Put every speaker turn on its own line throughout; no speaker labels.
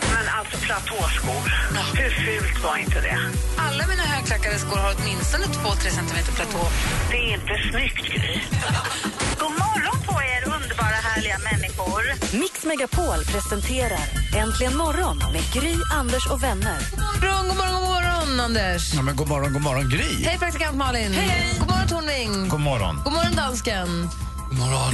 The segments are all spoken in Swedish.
Men alltså platåskor, hur fult var inte det?
Alla mina högklackade skor har åtminstone 2-3 centimeter platå.
Det är inte snyggt, Gry. God morgon på er, underbara härliga människor.
Mix Megapol presenterar Äntligen morgon med Gry, Anders och vänner.
Brun, god morgon, god morgon, Anders.
Ja, men god morgon, god morgon Gry.
Hej, praktikant Malin. Hej. God morgon, Tornving.
God morgon.
God morgon, dansken.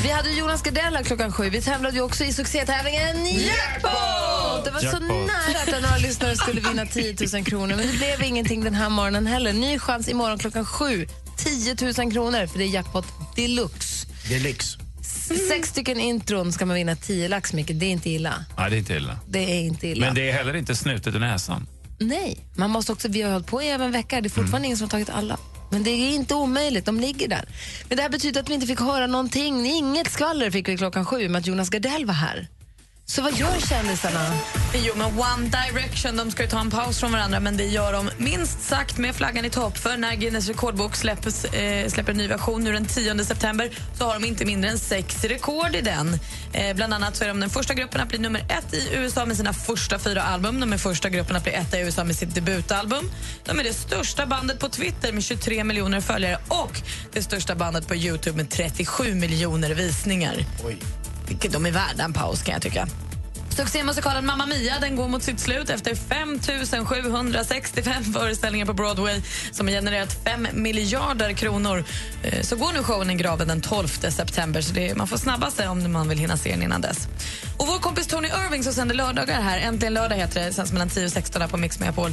Vi hade Jonas Gardell här klockan sju. Vi tävlade ju också i succétävlingen Jackpot! Det var så
Jackpot.
nära att en av våra lyssnare skulle vinna 10 000 kronor, men det blev ingenting den här morgonen heller. Ny chans imorgon klockan sju. 10 000 kronor, för det är jackpot deluxe.
Det är lyx.
Sex stycken intron ska man vinna 10 lax, Micke. Det är inte illa.
Nej, det är inte illa.
Det är inte illa.
Men det är heller inte snutet i näsan.
Nej, man måste också, vi har hållit på i över en vecka. Det är fortfarande
Mm.
ingen som har tagit alla. Men det är inte omöjligt, de ligger där. Men det här betyder att vi inte fick höra någonting. Inget skvaller fick vi klockan sju med att Jonas Gardell var här. Så vad gör kändisarna?
Jo, men One Direction de ska ju ta en paus från varandra men det gör de minst sagt med flaggan i topp för när Guinness rekordbok släpps, eh, släpper en ny version nu den 10 september så har de inte mindre än sex rekord i den. Eh, bland annat så är de den första gruppen att bli nummer ett i USA med sina första fyra album. De är första gruppen att bli etta i USA med sitt debutalbum. De är det största bandet på Twitter med 23 miljoner följare och det största bandet på Youtube med 37 miljoner visningar.
Oj.
Vilket de är värda en paus kan jag tycka. Succémusikalen Mamma Mia den går mot sitt slut efter 5 765 föreställningar på Broadway som har genererat 5 miljarder kronor. Eh, Så går nu showen i graven den 12 september så det, man får snabba sig om man vill hinna se den innan dess. Och vår kompis Tony Irving som sänder lördagar här, Äntligen lördag heter det, sänds mellan 10 och 16 här på Mix Megapol.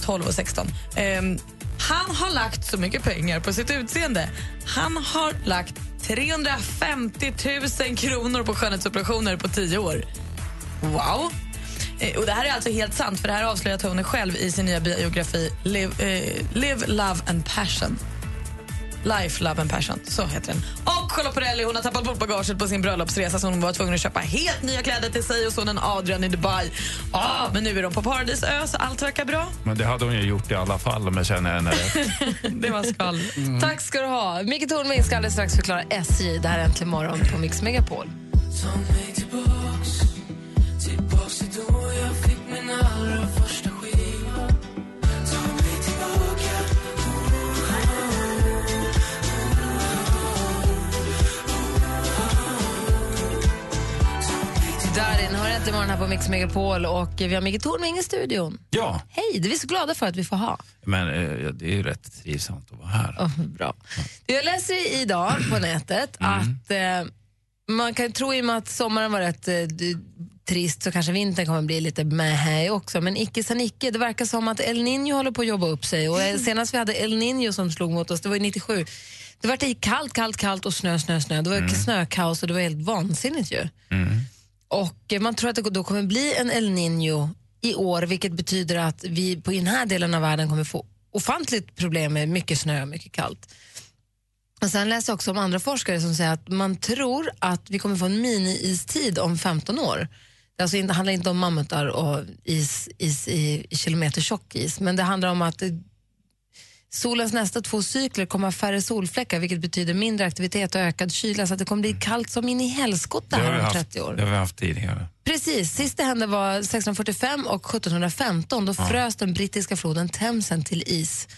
12 och 16. Ehm, han har lagt så mycket pengar på sitt utseende. Han har lagt 350 000 kronor på skönhetsoperationer på 10 år. Wow. Eh, Och Det här är alltså helt sant, för det här avslöjar Tony själv i sin nya biografi Live, eh, Live Love and Passion. Life, Love and Passion, så heter den. Och Charlotte Perrelli hon har tappat bort bagaget på sin bröllopsresa så hon var tvungen att köpa helt nya kläder till sig och sonen Adrian i Dubai. Ah, men nu är de på Paradisö så allt verkar bra.
Men det hade hon ju gjort i alla fall om jag känner henne rätt.
Det var skvall.
Tack ska du ha. Micke Tornving ska alldeles strax förklara SJ. Det här är Äntligen morgon på Mix Megapol. Darin har Äntligen morgon här på Mix Megapol och vi har Micke Tornving i studion.
Ja,
Hej, det är vi så glada för att vi får ha.
men eh, ja, det är ju rätt trivsamt att vara här.
Oh, bra. Du, Jag läser idag på nätet att eh, man kan tro i och med att sommaren var rätt eh, d- trist så kanske vintern kommer bli lite mähä också. Men icke san icke. Det verkar som att El Niño håller på att jobba upp sig. Och eh, senast vi hade El Niño som slog mot oss, det var ju 97. Det var det kallt, kallt, kallt och snö, snö, snö. Det var snökaos och det var helt vansinnigt ju. Och eh, man tror att det då kommer bli en El Niño i år, vilket betyder att vi på den här delen av världen kommer få ofantligt problem med mycket snö och mycket kallt. Och sen läser jag också om andra forskare som säger att man tror att vi kommer få en mini-istid om 15 år. Det alltså inte, handlar inte om mammutar och is, is i, i kilometer tjock is, men det handlar om att eh, solens nästa två cykler kommer ha färre solfläckar, vilket betyder mindre aktivitet och ökad kyla, så att det kommer bli kallt som in i helskotta
Det har, vi
här om
haft,
30 år.
det har vi haft tidigare.
Precis, sist det hände var 1645 och 1715. Då frös den brittiska floden Themsen till is.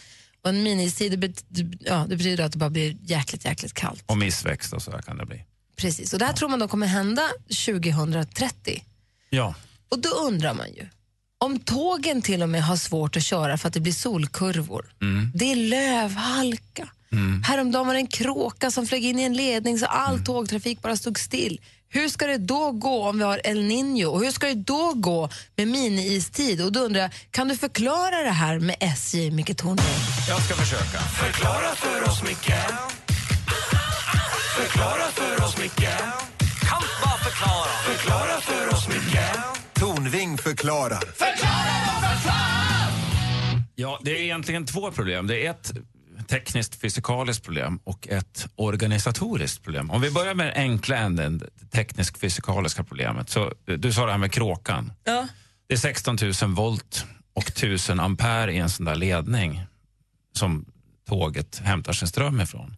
Och en mini-istid, det, bet- ja, det betyder att det bara blir jäkligt, jäkligt kallt.
Och missväxt och så här kan det bli.
Precis, och det här tror man då kommer hända 2030.
Ja,
Och då undrar man ju, om tågen till och med har svårt att köra för att det blir solkurvor. Det är lövhalka. Häromdagen var det en kråka som flög in i en ledning så all tågtrafik bara stod still. Hur ska det då gå om vi har El Niño och hur ska det då gå med mini-istid? Och då undrar jag, kan du förklara det här med SJ, Micke Tornving?
jag ska försöka.
Tonving förklarar.
Förklara, vad förklara!
Ja, det är egentligen två problem. Det är ett tekniskt fysikaliskt problem och ett organisatoriskt problem. Om vi börjar med den enkla änden, det tekniskt fysikaliska problemet. Så, eh, du sa det här med kråkan.
Ja.
Det är 16 000 volt och 1000 ampere i en sån där ledning som tåget hämtar sin ström ifrån.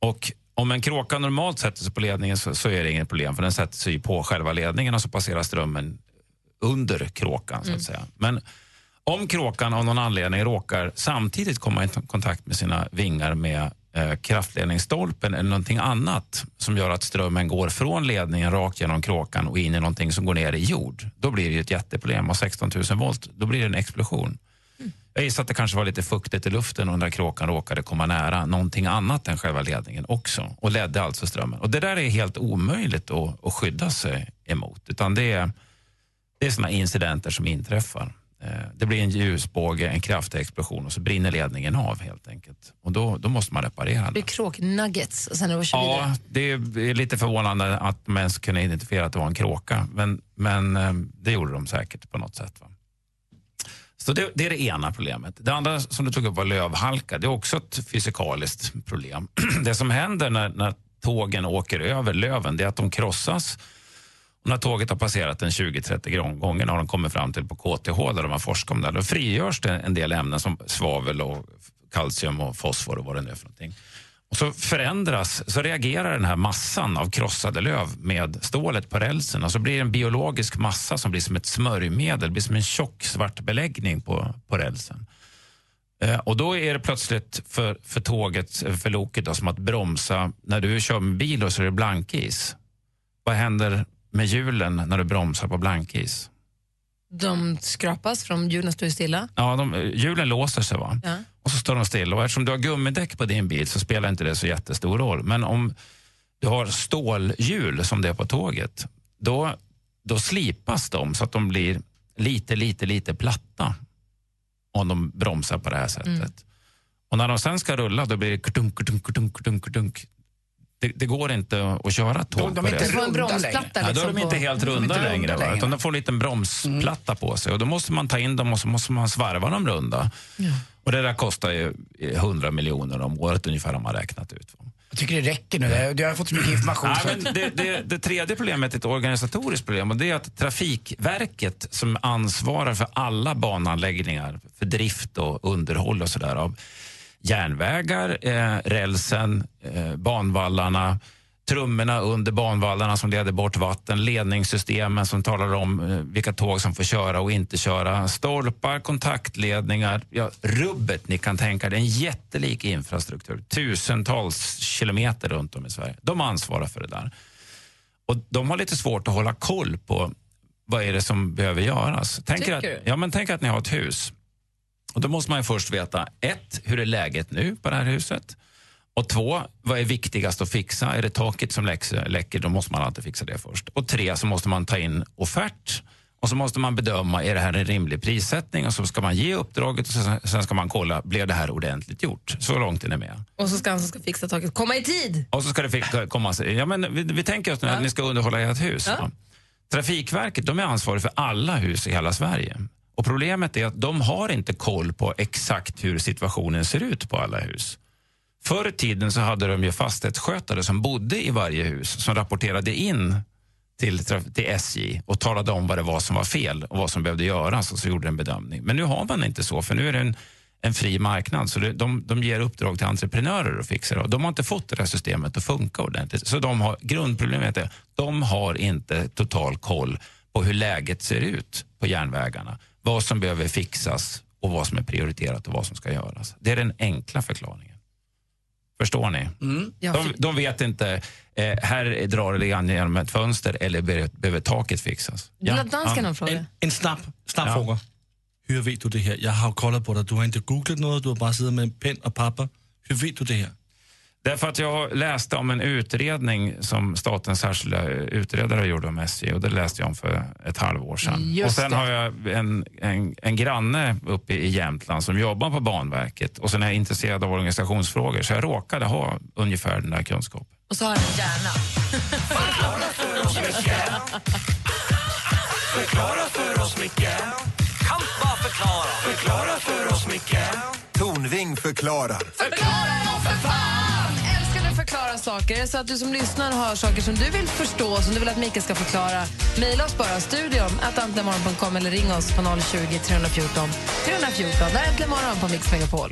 Och om en kråka normalt sätter sig på ledningen så, så är det inget problem för den sätter sig ju på själva ledningen och så passerar strömmen under kråkan. Så att säga. Men om kråkan av någon anledning råkar samtidigt komma i t- kontakt med sina vingar med eh, kraftledningsstolpen eller någonting annat som gör att strömmen går från ledningen rakt genom kråkan och in i någonting som går ner i jord, då blir det ju ett jätteproblem. Och 16 000 volt, då blir det en explosion. Jag gissar att det kanske var lite fuktigt i luften och när kråkan råkade komma nära någonting annat än själva ledningen också och ledde alltså strömmen. Och det där är helt omöjligt att, att skydda sig emot. Utan det är, det är såna incidenter som inträffar. Eh, Det blir en ljusbåge, en kraftig explosion och så brinner ledningen av helt enkelt. Och då, då måste man reparera
Det är
det.
kråknuggets och sen när vi kör vidare.
Ja, det är lite förvånande att man ens kunde identifiera att det var en kråka. Men, men eh, det gjorde de säkert på något sätt. Va? Så det, det är det ena problemet. Det andra som du tog upp var lövhalka. Det är också ett fysikaliskt problem. det som händer när, när tågen åker över löven det är att de krossas och när tåget har passerat en 20-30 gånger har de kommit fram till på KTH där de har forskat om det här, då frigörs det en del ämnen som svavel och kalcium och fosfor och vad det nu är för någonting. Och så förändras, så reagerar den här massan av krossade löv med stålet på rälsen och så blir det en biologisk massa som blir som ett smörjmedel, det blir som en tjock svart beläggning på, på rälsen. Eh, Och då är det plötsligt för, för tåget, eh, för loket, då, som att bromsa. När du kör med bil då, så är det blankis. Vad händer med hjulen när du bromsar på blankis?
De skrapas från hjulen står ju stilla.
Ja, de, eh, hjulen låser sig va?
Ja.
Och så står de still. Och eftersom du har gummidäck på din bil så spelar inte det så jättestor roll. Men om du har stålhjul som det är på tåget, då, då slipas de så att de blir lite, lite, lite platta. Om de bromsar på det här sättet. Och när de sen ska rulla då blir det kurdunk, kurdunk, kurdunk, kurdunk, kurdunk. Det, det går inte att köra tåg
De, de
på
är
det
inte
får en
runda
bromsplatta
längre.
där
Nej, då är
liksom
de inte
på-
helt runda
inte
längre,
runda
va?
längre.
utan de får en liten bromsplatta på sig. Och Då måste man ta in dem och så måste man svarva dem runda. Och Det där kostar ju eh, 100 miljoner om året ungefär har man räknat ut. va.
Jag tycker det räcker nu. Jag har fått så mycket information. så
Nej,
att-
men det, det, det tredje problemet är ett organisatoriskt problem och det är att Trafikverket som ansvarar för alla bananläggningar för drift och underhåll och sådär av järnvägar, eh, rälsen, eh, banvallarna, trummorna under banvallarna som leder bort vatten, ledningssystemen som talar om eh, vilka tåg som får köra och inte köra, stolpar, kontaktledningar, ja, rubbet ni kan tänka er. Det är en jättelik infrastruktur, tusentals kilometer runt om i Sverige. De ansvarar för det där. Och de har lite svårt att hålla koll på vad är det som behöver göras. Tänk er att,
Tycker du?
ja, men tänk att ni har ett hus. Och då måste man ju först veta, ett, hur är läget nu på det här huset? Och två, vad är viktigast att fixa? Är det taket som läcks- läcker, då måste man alltid fixa det först. Och tre, så måste man ta in offert och så måste man bedöma, är det här en rimlig prissättning? Och så ska man ge uppdraget och sen- sen ska man kolla, blev det här ordentligt gjort? Så långt är ni med.
Och så ska han som ska fixa taket komma i tid.
Och så ska det fick- komma sig. Ja, men vi, vi tänker oss nu att ni ska underhålla ert hus. va? Trafikverket de är ansvariga för alla hus i hela Sverige. Och Problemet är att de har inte koll på exakt hur situationen ser ut på alla hus. Förr i tiden så hade de ju fastighetsskötare som bodde i varje hus som rapporterade in till, traf- till SJ och talade om vad det var som var fel och vad som behövde göras och så gjorde en bedömning. Men nu har man inte så för nu är det en, en fri marknad så det, de, de ger uppdrag till entreprenörer att fixa det. Och De har inte fått det här systemet att funka ordentligt. Så de har, grundproblemet är de har inte total koll på hur läget ser ut på järnvägarna. Vad som behöver fixas och vad som är prioriterat och vad som ska göras. Det är den enkla förklaringen. Förstår ni?
Ja,
De, de vet inte, eh, här drar det igen genom ett fönster eller be- behöver taket fixas. Eh,
ja. Dansken har en
En,
fråga.
en snabb, snabb
Ja.
fråga. Hur vet du det här? Jag har ju kollat på dig. Du har inte googlat något. Du har bara suttit med en penna och papper. Hur vet du det här?
Därför att jag läste om en utredning som statens särskilda utredare gjorde om SJ och det läste jag om för ett halvår sedan.
Just
och sen
det.
har jag en, en, en granne uppe i Jämtland som jobbar på Banverket och sen är jag intresserad av organisationsfrågor så jag råkade ha ungefär den där kunskapen.
Och så har han en hjärna.
Kan bara förklara. Förklara för oss
Tornving förklarar.
Förklara då för fan! Älskar du förklara saker? Så att du som lyssnar har saker som du vill förstå, som du vill att Mikael ska förklara. Mejla oss bara, studion, attantlemorgon.com eller ring oss på 020 314 314. Det här är Äntligen morgon på Mix Megapol.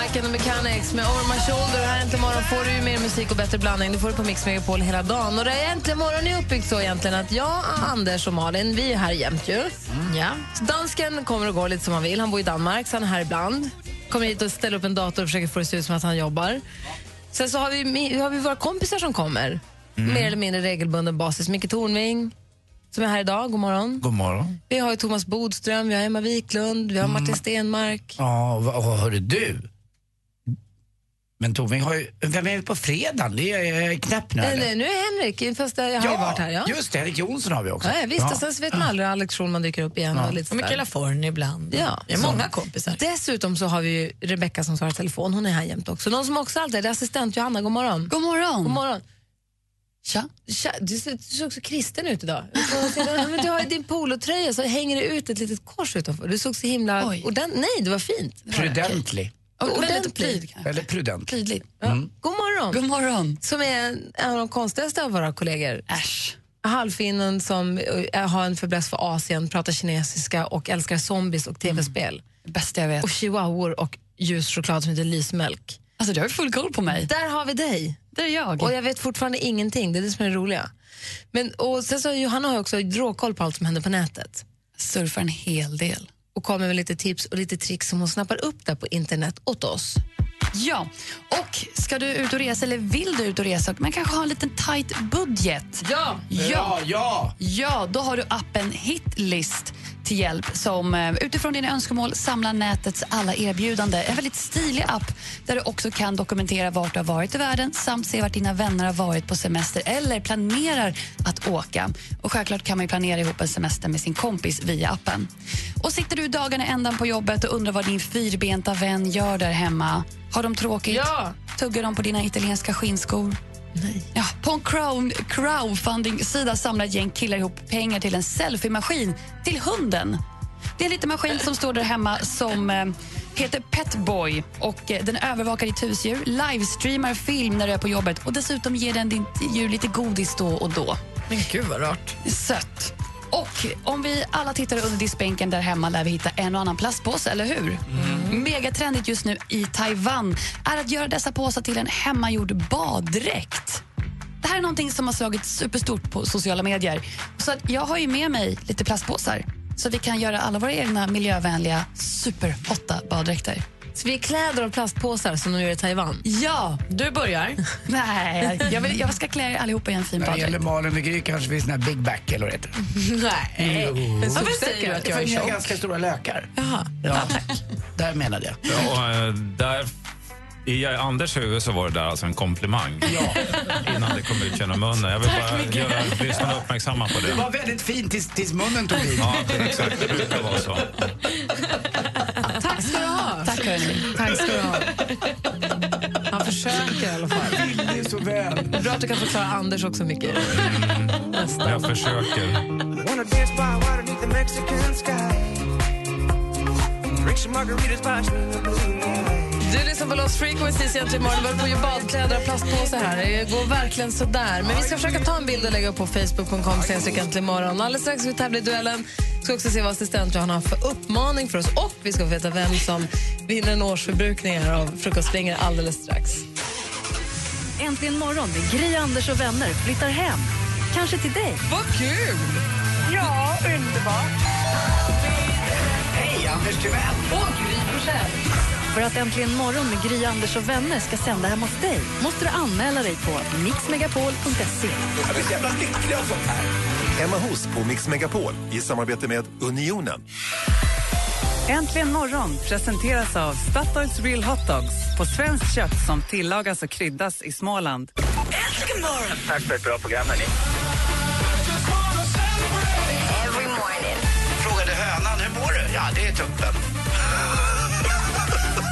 Mike and the Mechanics med Over My Shoulder. Och Här äntligen morgon får du ju mer musik och bättre blandning. Du får det på Mix Megapol hela dagen. Och det är äntligen morgon är uppbyggt så egentligen att jag, Anders och Malin, vi är här jämt ju.
Mm.
Ja. Så dansken kommer och går lite som han vill. Han bor i Danmark, så han är här ibland. Kommer hit och ställer upp en dator och försöker få det att se ut som att han jobbar. Sen så har vi, mi- har vi våra kompisar som kommer.
Mm.
Mer eller mindre regelbunden basis. Micke Tornving, som är här idag. God morgon.
God morgon. Mm.
Vi har ju Thomas Bodström, vi har Emma Wiklund, vi har Martin Stenmark.
Ja, vad vad hörru du. Men Torving har ju... Vem är det på fredagen? Det är eh, knäpp nu
Nej,
eller?
nej, nu är Henrik, fast jag har ju varit här. Ja.
just det. Henrik Jonsson har vi också.
Ja, visst, och sen så vet man aldrig Alex Schulman dyker upp igen.
Ja.
Och, lite
Och Mikaela
Forn ibland. Ja.
Vi har många
kompisar. Dessutom så har vi ju Rebecka som svarar i telefon, hon är här jämt också. Någon som också alltid är, det är assistent Johanna, god morgon. God morgon. God morgon. Tja. Tja. Du, ser, du ser också kristen ut idag. Ja, men du har ju din polotröja så hänger det ut ett litet kors utanför. Du såg så himla... Ordent... Nej, det var fint. Det var
Prudently.
Och
Väldigt
ordentlig.
pryd,
Eller prudent.
Prydligt.
Mm.
God morgon. God morgon. Äh. Som är en en av de konstigaste av våra kollegor. Äsch. Halvfinnen som eh, har en fäbless för Asien, pratar kinesiska och älskar zombies och
Mm.
tv-spel. Bästa jag vet. Och chihuahuor och ljus choklad som heter lysmjölk. Alltså, du har full koll på mig. Där har vi dig. Det är jag. Och jag vet fortfarande ingenting. Det är det som är det roliga. Men, och sen så har Johanna har ju också råkoll på allt som händer på nätet. Surfar en hel del. Och kommer med lite tips och lite tricks som hon snappar upp där på internet åt oss.
Ja, och ska du ut och resa eller vill du ut och resa och man kanske har en liten tight budget.
Ja,
Ja, ja.
Ja, då har du appen Hitlist till hjälp som eh, utifrån dina önskemål samlar nätets alla erbjudanden. En väldigt stilig app där du också kan dokumentera vart du har varit i världen samt se vart dina vänner har varit på semester eller planerar att åka. Och självklart kan man ju planera ihop en semester med sin kompis via appen. Och sitter du dagarna ändan på jobbet och undrar vad din fyrbenta vän gör där hemma? Har de tråkigt?
Ja.
Tuggar de på dina italienska skinnskor? Ja, på en crown, crowdfunding-sida samlar ett gäng killar ihop pengar till en selfie-maskin till hunden. Det är en liten maskin som står där hemma som eh, heter Petboy. Och, eh, den övervakar ditt husdjur, livestreamar film när du är på jobbet och dessutom ger den ditt djur lite godis då och då.
Men gud vad rart.
Sött. Och om vi alla tittar under diskbänken där hemma lär vi hitta en och annan plastpåse, eller hur?
Mm.
Megatrendigt just nu i Taiwan är att göra dessa påsar till en hemmagjord baddräkt. Det här är någonting som har slagit superstort på sociala medier. Så att jag har ju med mig lite plastpåsar så vi kan göra alla våra egna miljövänliga superhotta baddräkter.
Så vi är kläder och plastpåsar som de gör i Taiwan?
Ja,
du börjar.
Nej, jag, vill, jag ska klä er allihopa i en fin
När det
baddräkt.
gäller Malin och Gry kanske finns den här Big Back eller vad det heter.
Nej.
Jo.
Varför säger du att jag är
För ni har
tjock?
ganska stora lökar. Jaha. Ja, tack. Där menade jag.
Och, eh, där, I Anders huvud så var det där alltså en komplimang. Innan det kom ut genom munnen. Jag vill
Tack,
bara
Micke.
göra lyssnarna uppmärksamma på
Det
det.
var väldigt fint tills, tills munnen tog i.
Ja, exakt. Det brukar vara så.
Tack ska du ha.
Tack, hörni.
Tack ska du ha. Han försöker i alla fall.
Det är så väl.
Bra att du kan förklara Anders också mycket.
Jag försöker.
Wanna dance by water beneath the Mexican sky. Drink some margaritas by the blue moonlight.
Du lyssnar på Lost Frequencies egentligen imorgon. Vi håller på att göra badkläder och plastpåsar här. Det går verkligen sådär. Men vi ska försöka ta en bild och lägga upp på facebook.com senast äntligen imorgon. Alldeles strax ska vi tävla i duellen. Vi ska också se vad assistent Johanna har för uppmaning för oss. Och vi ska få veta vem som vinner en årsförbrukning här av frukostflingor alldeles strax.
Äntligen morgon med Gry, Anders och vänner flyttar hem. Kanske till dig.
Vad kul!
Ja, underbart.
Hej, Anders Timell!
Och Gry Forssell.
För att Äntligen morgon med Gry, Anders och vänner ska sända hemma hos dig måste du anmäla dig på mixmegapol.se.
Jag blir så jävla lycklig av sånt här. Hemma hos på Mix Megapol i samarbete med Unionen.
Äntligen morgon presenteras av Statoils Real Hot Dogs på svenskt kött som tillagas och kryddas i Småland.
Tack för ett bra program, hörni.
köttet.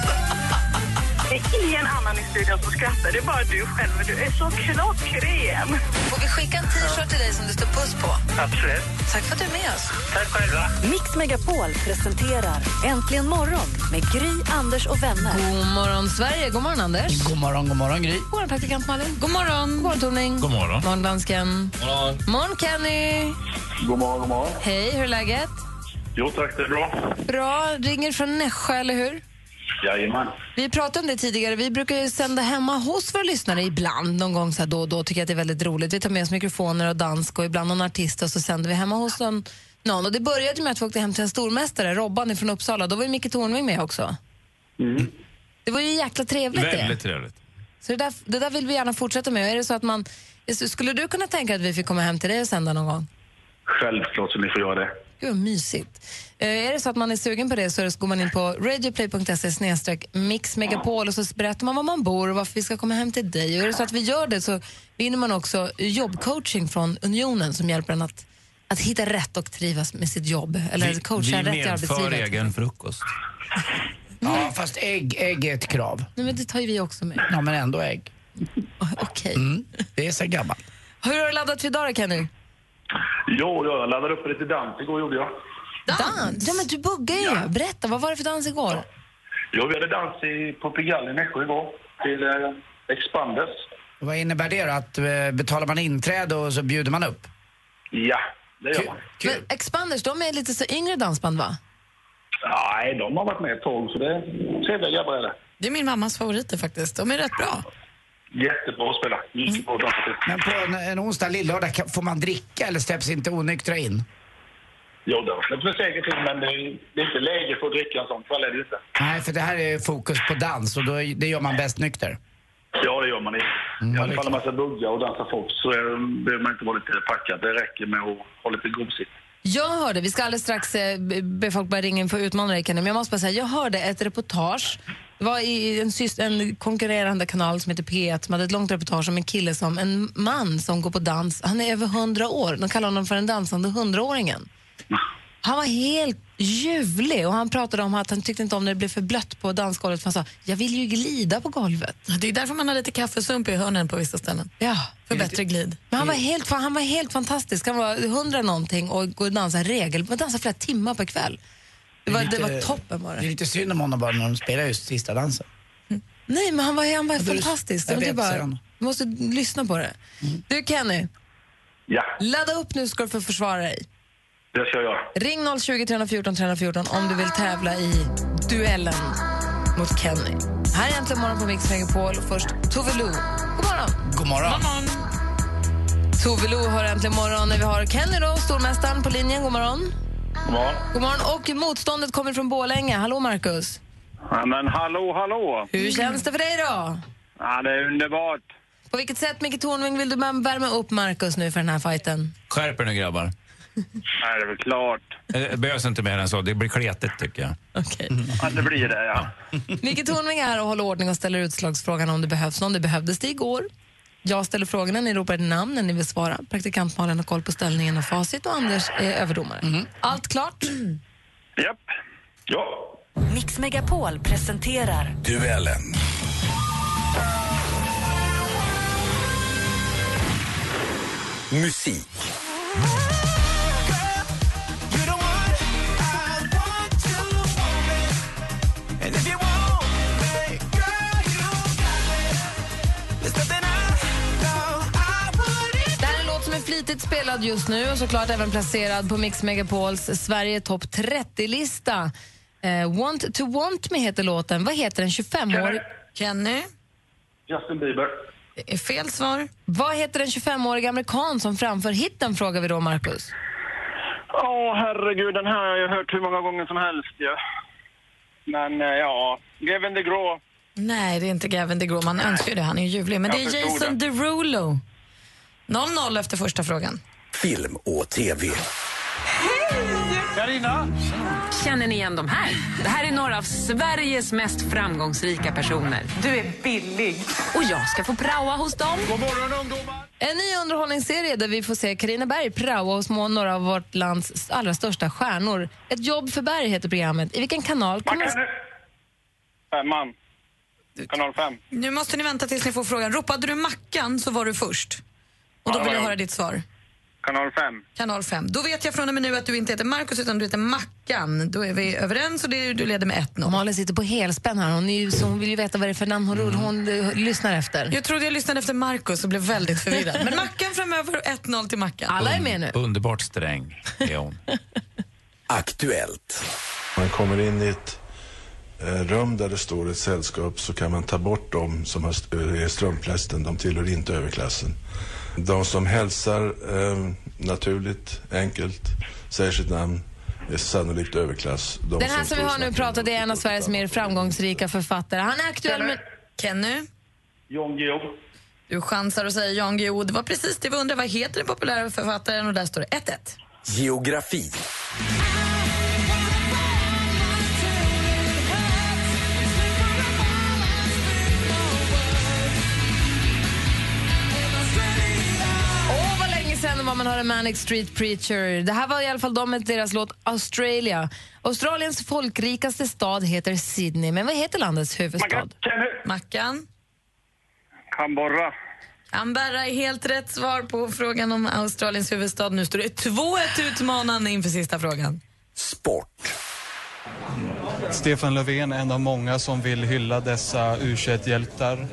Det är ingen annan i studion som skrattar, det är bara du själv. Du är så klockren.
Får vi skicka en t-shirt till dig som det står puss på?
Absolut.
Tack för att du är med oss.
Tack själva.
Mix Megapol presenterar Äntligen morgon med Gry, Anders och vänner.
God morgon, Sverige. God morgon, Anders.
God morgon, god morgon, Gry.
God morgon, praktikant Malin. God morgon. God morgon, Tornving.
God morgon.
morgon, dansken. morgon, Kenny.
God morgon, god morgon.
Hej, hur är läget?
Jo tack, det är bra.
Bra. Ringer från Nässjö, eller hur?
Jajamän.
Vi pratade om det tidigare. Vi brukar ju sända hemma hos våra lyssnare ibland. Någon gång så här då och då tycker jag att det är väldigt roligt. Vi tar med oss mikrofoner och dansk och ibland någon artist och så sänder vi hemma hos någon. någon. Och det började ju med att vi åkte hem till en stormästare, Robban från Uppsala. Då var ju Micke Tornving med också.
Mm.
Det var ju jäkla trevligt det.
Väldigt trevligt.
Så det där, det där vill vi gärna fortsätta med. Är det så att man, skulle du kunna tänka att vi fick komma hem till dig och sända någon gång?
Självklart så ni får göra det.
Gud, vad mysigt. Eh, är det så att man är sugen på det så går man in på radioplay.se snedstreck mixmegapol och så berättar man var man bor och varför vi ska komma hem till dig. Och är det så att vi gör det så vinner man också jobbcoaching från Unionen som hjälper en att, att hitta rätt och trivas med sitt jobb. Eller
Vi-
coacha
vi
rätt i
medför
arbetslivet.
egen frukost.
Ja, fast ägg, ägg är ett krav.
Nej, men det tar ju vi också med.
Ja, men ändå ägg.
Okej.
Mm, det är så gammalt.
Hur har du laddat för idag då, Kenny?
Jo, jag laddade upp lite dans igår gjorde jag.
Dans? Ja, men du buggar ju. Berätta, vad var det för dans igår?
Jo, vi hade dans i, på Pigalle i Nässjö igår till eh, Expanders.
Vad innebär det då? Att eh, betalar man inträde och så bjuder man upp?
Ja, det gör man.
Men Expanders, de är lite så yngre dansband, va?
Nej, de har varit med ett tag så det är trevliga grabbar är det.
Det är min mammas favoriter faktiskt. De är rätt bra.
Jättebra att spela. Jättebra att dansa till.
Men på en, en onsdag, lillördag, kan- får man dricka eller släpps inte onyktra in?
Jo, de släpps väl säkert in men det är, det är inte läge för att dricka en sån kväll är det ju inte.
Nej, för det här är fokus på dans och då, det gör man bäst nykter.
Ja, det gör man inte.
Mm.
I alla fall om man ska bugga och dansa folk så eh, behöver man inte vara lite packad. Det räcker med att ha lite gosigt.
Jag hörde, vi ska alldeles strax eh, be- be folk börja ringa in för att utmana dig Kenny, men jag måste bara säga, jag hörde ett reportage. Det var i en, syst, en konkurrerande kanal som heter P1 som hade ett långt reportage om en kille som, en man som går på dans. Han är över 100 år, de kallar honom för den dansande 100-åringen. Han var helt ljuvlig och han pratade om att han tyckte inte om när det blev för blött på dansgolvet för han sa, jag vill ju glida på golvet.
Det är därför man har lite kaffesump i hörnen på vissa ställen.
Ja.
För bättre glid.
Men han var helt, fa- han var helt fantastisk. Han var hundra någonting och går och dansar regelbundet. Dansar flera timmar per kväll. Det var, det var toppen var
Det
det.
är lite synd om honom bara när de spelar just sista dansen.
Nej, men han var, han var
Jag blir-
fantastisk.
jag
Men det är
vet, säger
bara,
han. Mm.
du måste lyssna på det. Du Kenny,
Ja,
ladda upp nu ska du få försvara dig.
det ska jag göra.
Ring 020 314 314 om du vill tävla i duellen mot Kenny. Här är äntligen morgon på Mix Megapol. Först Tove Lo. God morgon!
God morgon.
Tove Lo hör äntligen morgon när vi har Kenny då, stormästaren på linjen. God morgon!
God morgon.
God morgon. Och motståndet kommer från Borlänge. Hallå, Marcus.
Ja, men hallå, hallå!
Hur känns det för dig då?
Mm. Ja, det är underbart.
På vilket sätt, Micke Tornving, vill du värm- värma upp Marcus nu för den här fighten?
Skärp er nu grabbar.
Nej, det är väl klart.
Det behövs inte mer än så. Det blir kletigt tycker jag.
Okej.
Mm. Ja, det blir det, ja.
Micke Tornving är här och håller ordning och ställer utslagsfrågan om det behövs någon. Det behövdes det igår. Jag ställer frågorna, ni ropar namn när ni vill svara. Praktikant Malin har koll på ställningen och facit och Anders är överdomare.
Mm.
Allt klart?
Japp. Ja.
Mix Megapol presenterar
Duellen. Musik.
Det här är en låt som är flitigt spelad just nu och såklart även placerad på Mix Megapols Sverige topp 30-lista. Eh, want to want me heter låten. Vad heter den 25-årig...
Kenny?
Justin Bieber.
Det är fel svar.
Eh, Vad heter den 25-åriga amerikan som framför hitten, frågar vi då, Marcus.
Åh, herregud, den här har jag hört hur många gånger som helst ju. Men eh, ja, Gavin DeGraw.
Nej, det är inte Gavin DeGraw. Man önskar ju det. Han är ju ljuvlig. Men
Jag
det är
förstod
Jason
det.
Derulo. 0-0 efter första frågan.
Film och TV.
Hej!
Carina!
Känner ni igen de här? Det här är några av Sveriges mest framgångsrika personer. Du är billig. Och jag ska få praoa hos dem.
God morgon, ungdomar!
En ny underhållningsserie där vi får se Karina Berg praoa hos må- några av vårt lands allra största stjärnor. Ett jobb för Berg heter programmet. I vilken kanal?
Man
kommer-
kan... Femman. Kanal 5.
Nu måste ni vänta tills ni får frågan. Ropade du Mackan så var du först. Och då
Ja,
vill jag
ja.
höra ditt svar.
Kanal 5.
Kanal 5. Då vet jag från och med nu att du inte heter Markus utan du heter Mackan. Då är vi överens och det är, du leder med 1-0.
Malin sitter på helspänn här. Hon, är ju, så hon vill ju veta vad det är för namn hon, hon,
Mm.
hon eh, lyssnar efter.
Jag trodde jag lyssnade efter Markus och blev väldigt förvirrad. Men Mackan framöver och 1-0 till Mackan.
Alla är med nu.
Underbart sträng är hon.
Aktuellt. Man kommer in i ett eh, rum där det står ett sällskap så kan man ta bort de som har st- eh, är strumplästen. De tillhör inte överklassen. De som hälsar eh, naturligt, enkelt, säger sitt namn är sannolikt överklass. De
Den här som vi
står
har nu pratat är en av Sveriges mer framgångsrika författare. Han är aktuell med...
Kenny?
Jan Guillou.
Du chansar och säger Jan Guillou. Det var precis det vi undrade. Vad heter den populära författaren? Och där står det 1-1.
Geografi.
Åh, vad länge sedan var man hörde Manic Street Preacher. Det här var i alla fall de med deras låt Australia. Australiens folkrikaste stad heter Sydney, men vad heter landets huvudstad?
Mackan?
Canberra.
Canberra är helt rätt svar på frågan om Australiens huvudstad. Nu står det 2-1 utmanande inför sista frågan.
Stefan Löfven är en av många som vill hylla dessa u hjältar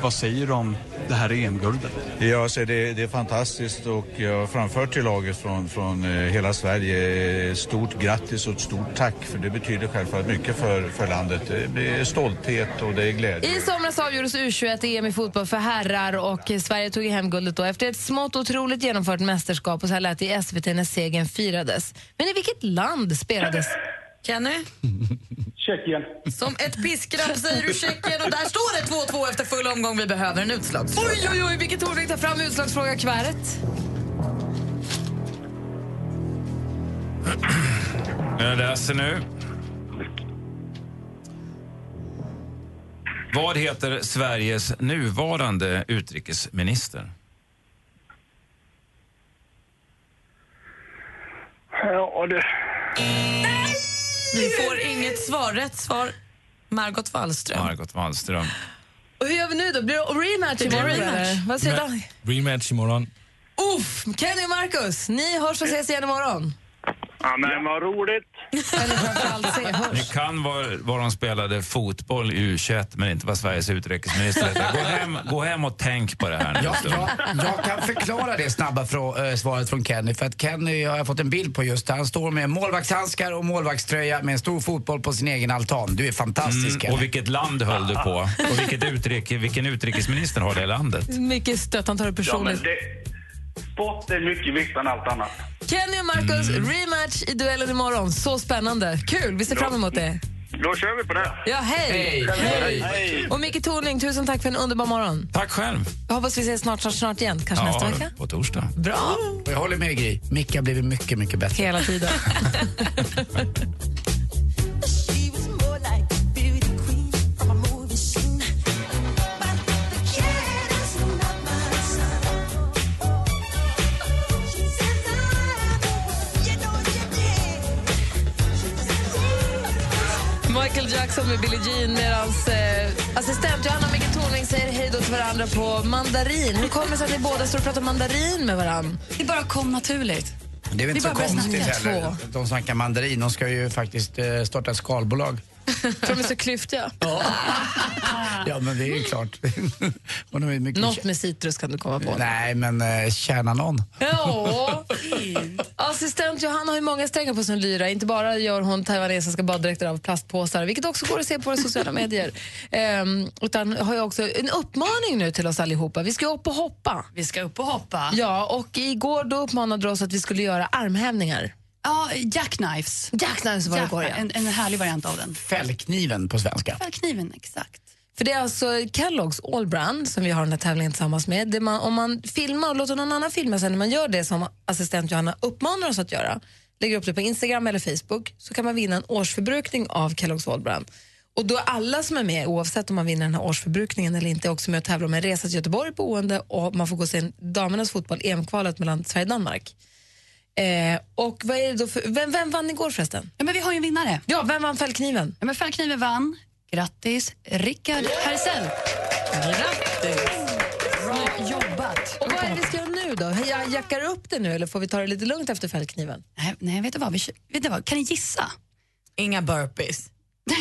Vad säger du om det här EM-guldet?
Ja, så det, det är fantastiskt och jag framför till laget från, från eh, hela Sverige eh, stort grattis och ett stort tack för det betyder självfallet mycket för, för landet. Det är stolthet och det är glädje.
I somras avgjordes U21-EM i fotboll för herrar och Sverige tog hem guldet då efter ett smått otroligt genomfört mästerskap och så här lät det i SVT när segern firades. Men i vilket land spelades...
Kenny?
Tjeckien.
Som ett piskrapp säger du Tjeckien och där står det 2-2 efter full omgång. Vi behöver en utslagsfråga.
Oj, oj, oj, vilket Torvik tar fram utslagsfråga kväret.
Jag läser nu. Vad heter Sveriges nuvarande utrikesminister?
Ja, det...
Vi får inget svar. Rätt svar, Margot Wallström.
Margot Wallström.
Och hur gör vi nu då? Blir det rematch
Det blir
imorgon?
rematch.
eller? Vad säger Dan?
Rematch imorgon.
Uff, Kenny och Marcus, ni hörs och ses igen imorgon.
Ja, men vad roligt.
Ni kan var, var de spelade fotboll i U21, men inte vad Sveriges utrikesminister heter. Gå hem, gå hem och tänk på det här nu.
Jag,
en stund.
jag, jag kan förklara det snabba frå, eh, svaret från Kenny. För att Kenny har jag fått en bild på just. Han står med målvaktshandskar och målvaktströja med en stor fotboll på sin egen altan. Du är fantastisk
Mm,
Kenny.
och vilket land höll du på? Och vilket utrike, vilken utrikesminister har det landet?
Mycket stött, han tar det
Ja,
personligt.
men
Det... Sport är mycket viktigare än allt annat.
Kenny och Marcus,
Mm.
rematch i duellen imorgon. Så spännande. Kul, vi ser fram emot det.
Då kör vi på det.
Ja, hej! Och Micke Tornving, tusen tack för en underbar morgon.
Tack själv.
Jag hoppas vi ses snart, snart, snart igen. Kanske nästa vecka?
på torsdag.
Bra!
Och jag håller med Gry. Micke har blivit mycket, mycket bättre.
Hela tiden. Michael Jackson med Billie Jean medan eh, assistent Johanna och Micke Tornving säger hej då till varandra på mandarin. Hur kommer det sig att ni båda står och pratar mandarin med varandra?
Det bara kom naturligt.
Det är väl inte
Det är
så
bara att börja
konstigt
snacka
heller.
två.
De snackar mandarin. De ska ju faktiskt eh, starta ett skalbolag.
För de är så klyftiga.
Ja, men det är ju klart. Och de är mycket...
Något med citrus kan du komma på.
Nej, men eh, tjäna någon.
Ja. Assistent Johanna har ju många strängar på sin lyra. Inte bara gör hon taiwanesiska baddräkter av plastpåsar, vilket också går att se på våra sociala medier. Ehm, utan har ju också en uppmaning nu till oss allihopa. Vi ska ju upp och hoppa.
Vi ska upp och hoppa.
Ja, och igår då uppmanade du oss att vi skulle göra armhävningar.
Ja, jackknives.
Jackknives
var det igår, ja.
en, en härlig variant av den.
Fällkniven på svenska.
Fällkniven, exakt.
För det är alltså Kellogg's Allbrand som vi har den här tävlingen tillsammans med. Det man, om man filmar och låter någon annan filma sen när man gör det som assistent Johanna uppmanar oss att göra, lägger upp det på Instagram eller Facebook, så kan man vinna en årsförbrukning av Kellogg's Allbrand. Och då är alla som är med, oavsett om man vinner den här årsförbrukningen eller inte, också med och tävlar om en resa till Göteborg på Oende och man får gå och se damernas fotboll, EM-kvalet mellan Sverige och Danmark. Eh, och vad är det då för, vem, vem vann igår förresten?
Ja, men vi har ju en vinnare.
Ja, vem vann Fällkniven?
Ja, men Fällkniven vann. Grattis, Rickard Hertzell.
Grattis!
Bra jobbat.
Och vad är det vi ska göra nu då? Jag jackar upp det nu eller får vi ta det lite lugnt efter Fällkniven?
Nej, nej vet, du vad? Vi, kö- vet du vad? Kan ni gissa?
Inga burpees.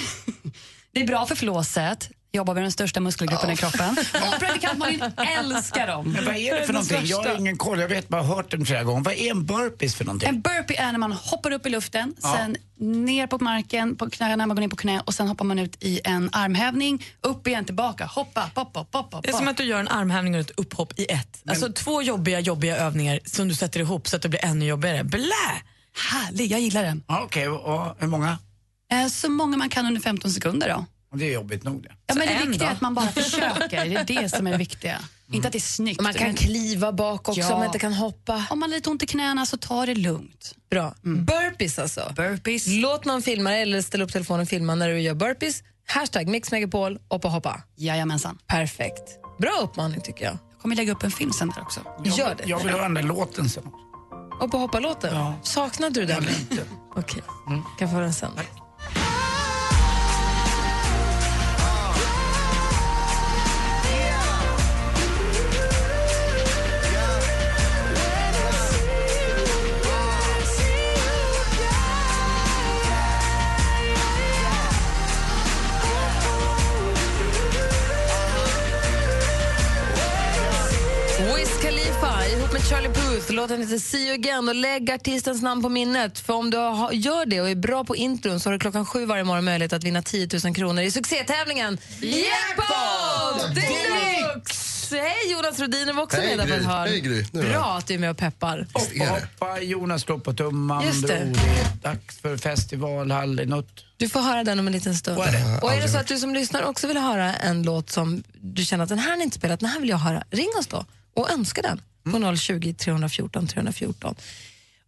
det är bra för flåset. Jobbar med den största muskelgruppen i kroppen. Och predikant Malin älskar dem.
Men vad är det för någonting? Jag har ingen koll, jag vet bara hört den flera gånger. Vad är en burpees för någonting?
En burpee är när man hoppar upp i luften,
Ja.
sen ner på marken, på knäna, man går ner på knä och sen hoppar man ut i en armhävning, upp igen, tillbaka, hoppa, hopp, hopp, hopp, hopp.
Det är som att du gör en armhävning och ett upphopp i ett. Alltså två jobbiga, jobbiga övningar som du sätter ihop så att det blir ännu jobbigare. Blä!
Härlig, jag gillar den.
Ja, Okej, och hur många?
Eh, Så många man kan under 15 sekunder då.
Och Det är jobbigt nog det.
Ja, men det
en
viktiga är
då?
att man bara försöker, det är det som är det viktiga. Inte att det är snyggt.
Man kan kliva bak också om man inte kan hoppa.
Om man har lite ont i knäna så ta det lugnt.
Bra. Burpees alltså.
Burpees.
Låt någon filma det eller ställa upp telefonen och filma när du gör burpees. Hashtag mixmegapol och på hoppa.
Jajamensan.
Perfekt. Bra uppmaning tycker jag.
Jag kommer lägga upp en film sen där också.
Gör det.
Jag vill höra den där låten sen.
Och på hoppa-låten? Saknade du den?
lite.
Okej, kan få höra den sen. Wiz Khalifa ihop med Charlie Puth. Låten heter See You Again och lägg artistens namn på minnet. För om du har- gör det och är bra på intron så har du klockan sju varje morgon möjlighet att vinna 10 000 kronor i succétävlingen Jackpot Deluxe! Hej Jonas Rhodiner var också
Hej,
med där på ett
Gry.
hörn.
Hej, Gry. Nu då?
Bra att du är med och peppar.
Hoppa, Jonas slår på tumman.
Just det.
drog det. Dags för festivalhall i något.
Du får höra den om en liten stund.
Vad är det?
Och är det
Aldrig
så
hört.
att du som lyssnar också vill höra en låt som du känner att den här har ni inte spelat, den här vill jag höra, ring oss då och önska den på 020 314 314.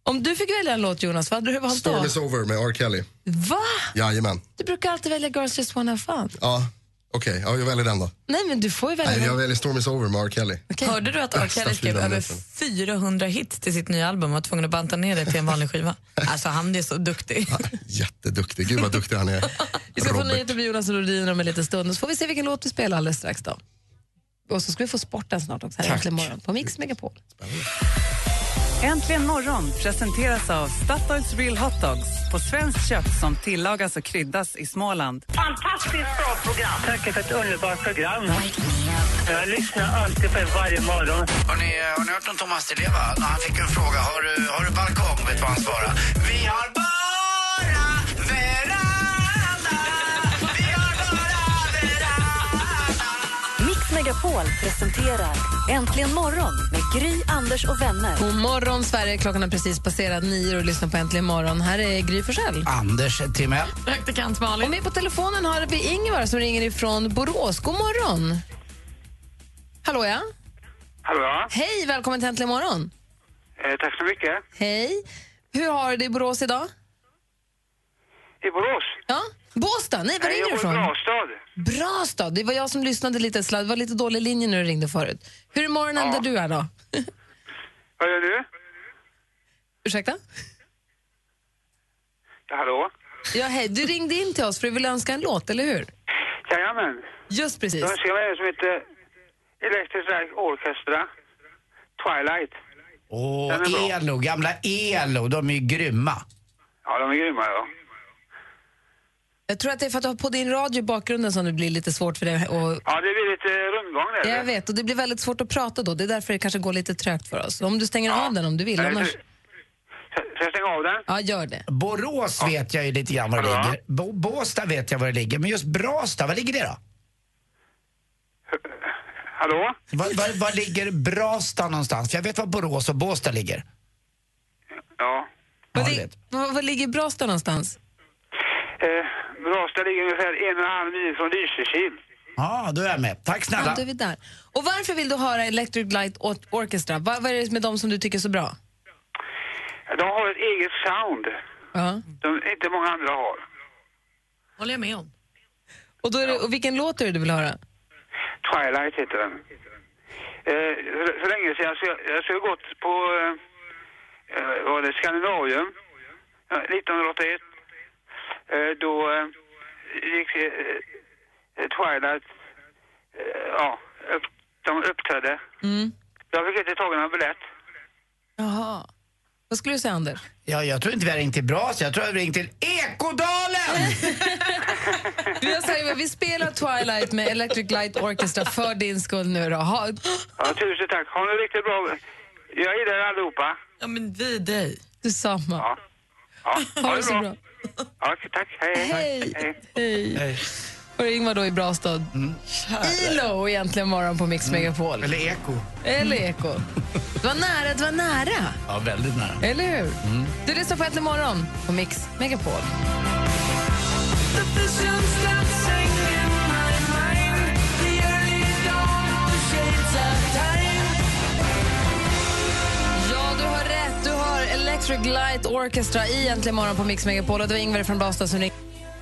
Om du fick välja en låt Jonas, vad hade du valt då?
Storm is over med R. Kelly.
Va?
Jajamän.
Du brukar alltid välja Girls Just Wanna Have Fun.
Ja, okej. Ja, jag väljer den då.
Nej men du får ju välja.
Nej, jag
den.
väljer Storm is over med R. Kelly.
Hörde du att R. Kelly
Statsbidrag
skrev över
nästan.
400 hits till sitt nya album och var tvungen att banta ner det till en vanlig skiva? Alltså han är så duktig.
Jätteduktig. Gud vad duktig han är.
Vi ska få
Robert.
nyheter med Jonas Rhodiner om en liten stund och så får vi se vilken låt vi spelar alldeles strax då. Och så ska vi få sporten snart också här i Äntligen morgon på Mix Megapol.
Äntligen morgon presenteras av Statoils Real Hot Dogs på svenskt kött som tillagas och kryddas i Småland.
Fantastiskt bra program. Tack för ett underbart program. Jag lyssnar alltid på er varje morgon.
Har ni, har ni hört om Thomas Di Leva? När han fick en fråga, har du, har du balkong? Vet du vad han svarade? Vi har bara veranda. Vi har bara
Mix Megapol presenterar Äntligen morgon med Gry, Anders och vänner.
God morgon Sverige, klockan har precis passerat nio och lyssnar på Äntligen morgon. Här är Gry Forssell.
Anders Timell.
Praktikant Malin.
Och med på telefonen har vi Ingvar som ringer ifrån Borås. God morgon! Hallå ja?
Hallå?
Hej, välkommen till Äntligen morgon!
Eh, tack så mycket.
Hej! Hur har du det i Borås idag?
I Borås?
Ja? Båstad? Nej, var
Nej,
ringer du
jag
ifrån?
bor i Brastad.
Bra stad. Det var jag som lyssnade lite sladd. Det var lite dålig linje när du ringde förut. Hur är morgonen där du är då?
Vad gör du?
Ursäkta?
Ja, hallå?
Ja, hej. Du ringde in till oss för du ville önska en låt, eller hur?
Jajamän.
Just precis.
Jag önskar mig en som heter Electric Light Orchestra, Twilight.
Åh,
Den är bra.
Elo, gamla Elo, de är ju grymma.
Ja, de är grymma ja.
Jag tror att det är för att du har på din radio i bakgrunden som det blir lite svårt för dig att
Ja, det blir lite eh, rundgång där.
Ja, jag vet, och det blir väldigt svårt att prata då. Det är därför det kanske går lite trögt för oss. Om du stänger av den om du vill.
Nej,
Annars...
Ska jag stänga av den?
Ja, gör det.
Borås vet jag ju lite grann var det ligger. Bo- Båstad vet jag var det ligger, men just Brastad, var ligger det då?
Hallå?
Var, var, var ligger Brastad någonstans? För jag vet var Borås och Båstad ligger.
Ja.
Var, li- var, var ligger Brastad någonstans?
Eh, Brastad ligger ungefär en och en halv mil från Lysekil.
Ja, då är jag med. Tack
Ja,
snälla.
då är vi där. Och varför vill du höra Electric Light Or- Orchestra? Vad, vad är det med dem som du tycker är så bra?
De har ett eget sound
Ja.
som inte många andra har.
håller jag med om.
Och, då är det, och vilken låt är det du vill höra?
Twilight heter den. Eh, för, för länge sedan så jag, jag skulle gått på eh, eh, var det Skandinavium Ja, 1981. Eh, då eh, gick eh, Twilight, eh, ja, upp, de uppträdde.
Mm.
Jag fick inte tag i någon biljett.
Jaha. Vad skulle du säga, Anders?
Ja, jag tror inte vi har ringt till Bras, jag tror jag har ringt till Ekodalen!
Du, jag säger, vad, vi spelar Twilight med Electric Light Orchestra för din skull nu då. Ha,
Ja, tusen tack. Har ni riktigt bra... Jag gillar er allihopa.
Ja, men vi dig.
detsamma.
Ja. Ja,
Ha det så bra.
Ja, tack. Hej.
Hej.
Hej.
Hej. Och Ingmar då i Brastad. ILO egentligen morgon på Mix Megapol.
Eller Eko.
Eller Eko. Det var nära, det var nära.
Ja, väldigt nära.
Eller hur? Du lyssnar på Äntligen morgon på Mix Megapol. Ja, du har rätt. Du har Electric Light Orchestra i Äntligen morgon på Mix Megapol. Och det var Ingvar från Bastad som ringde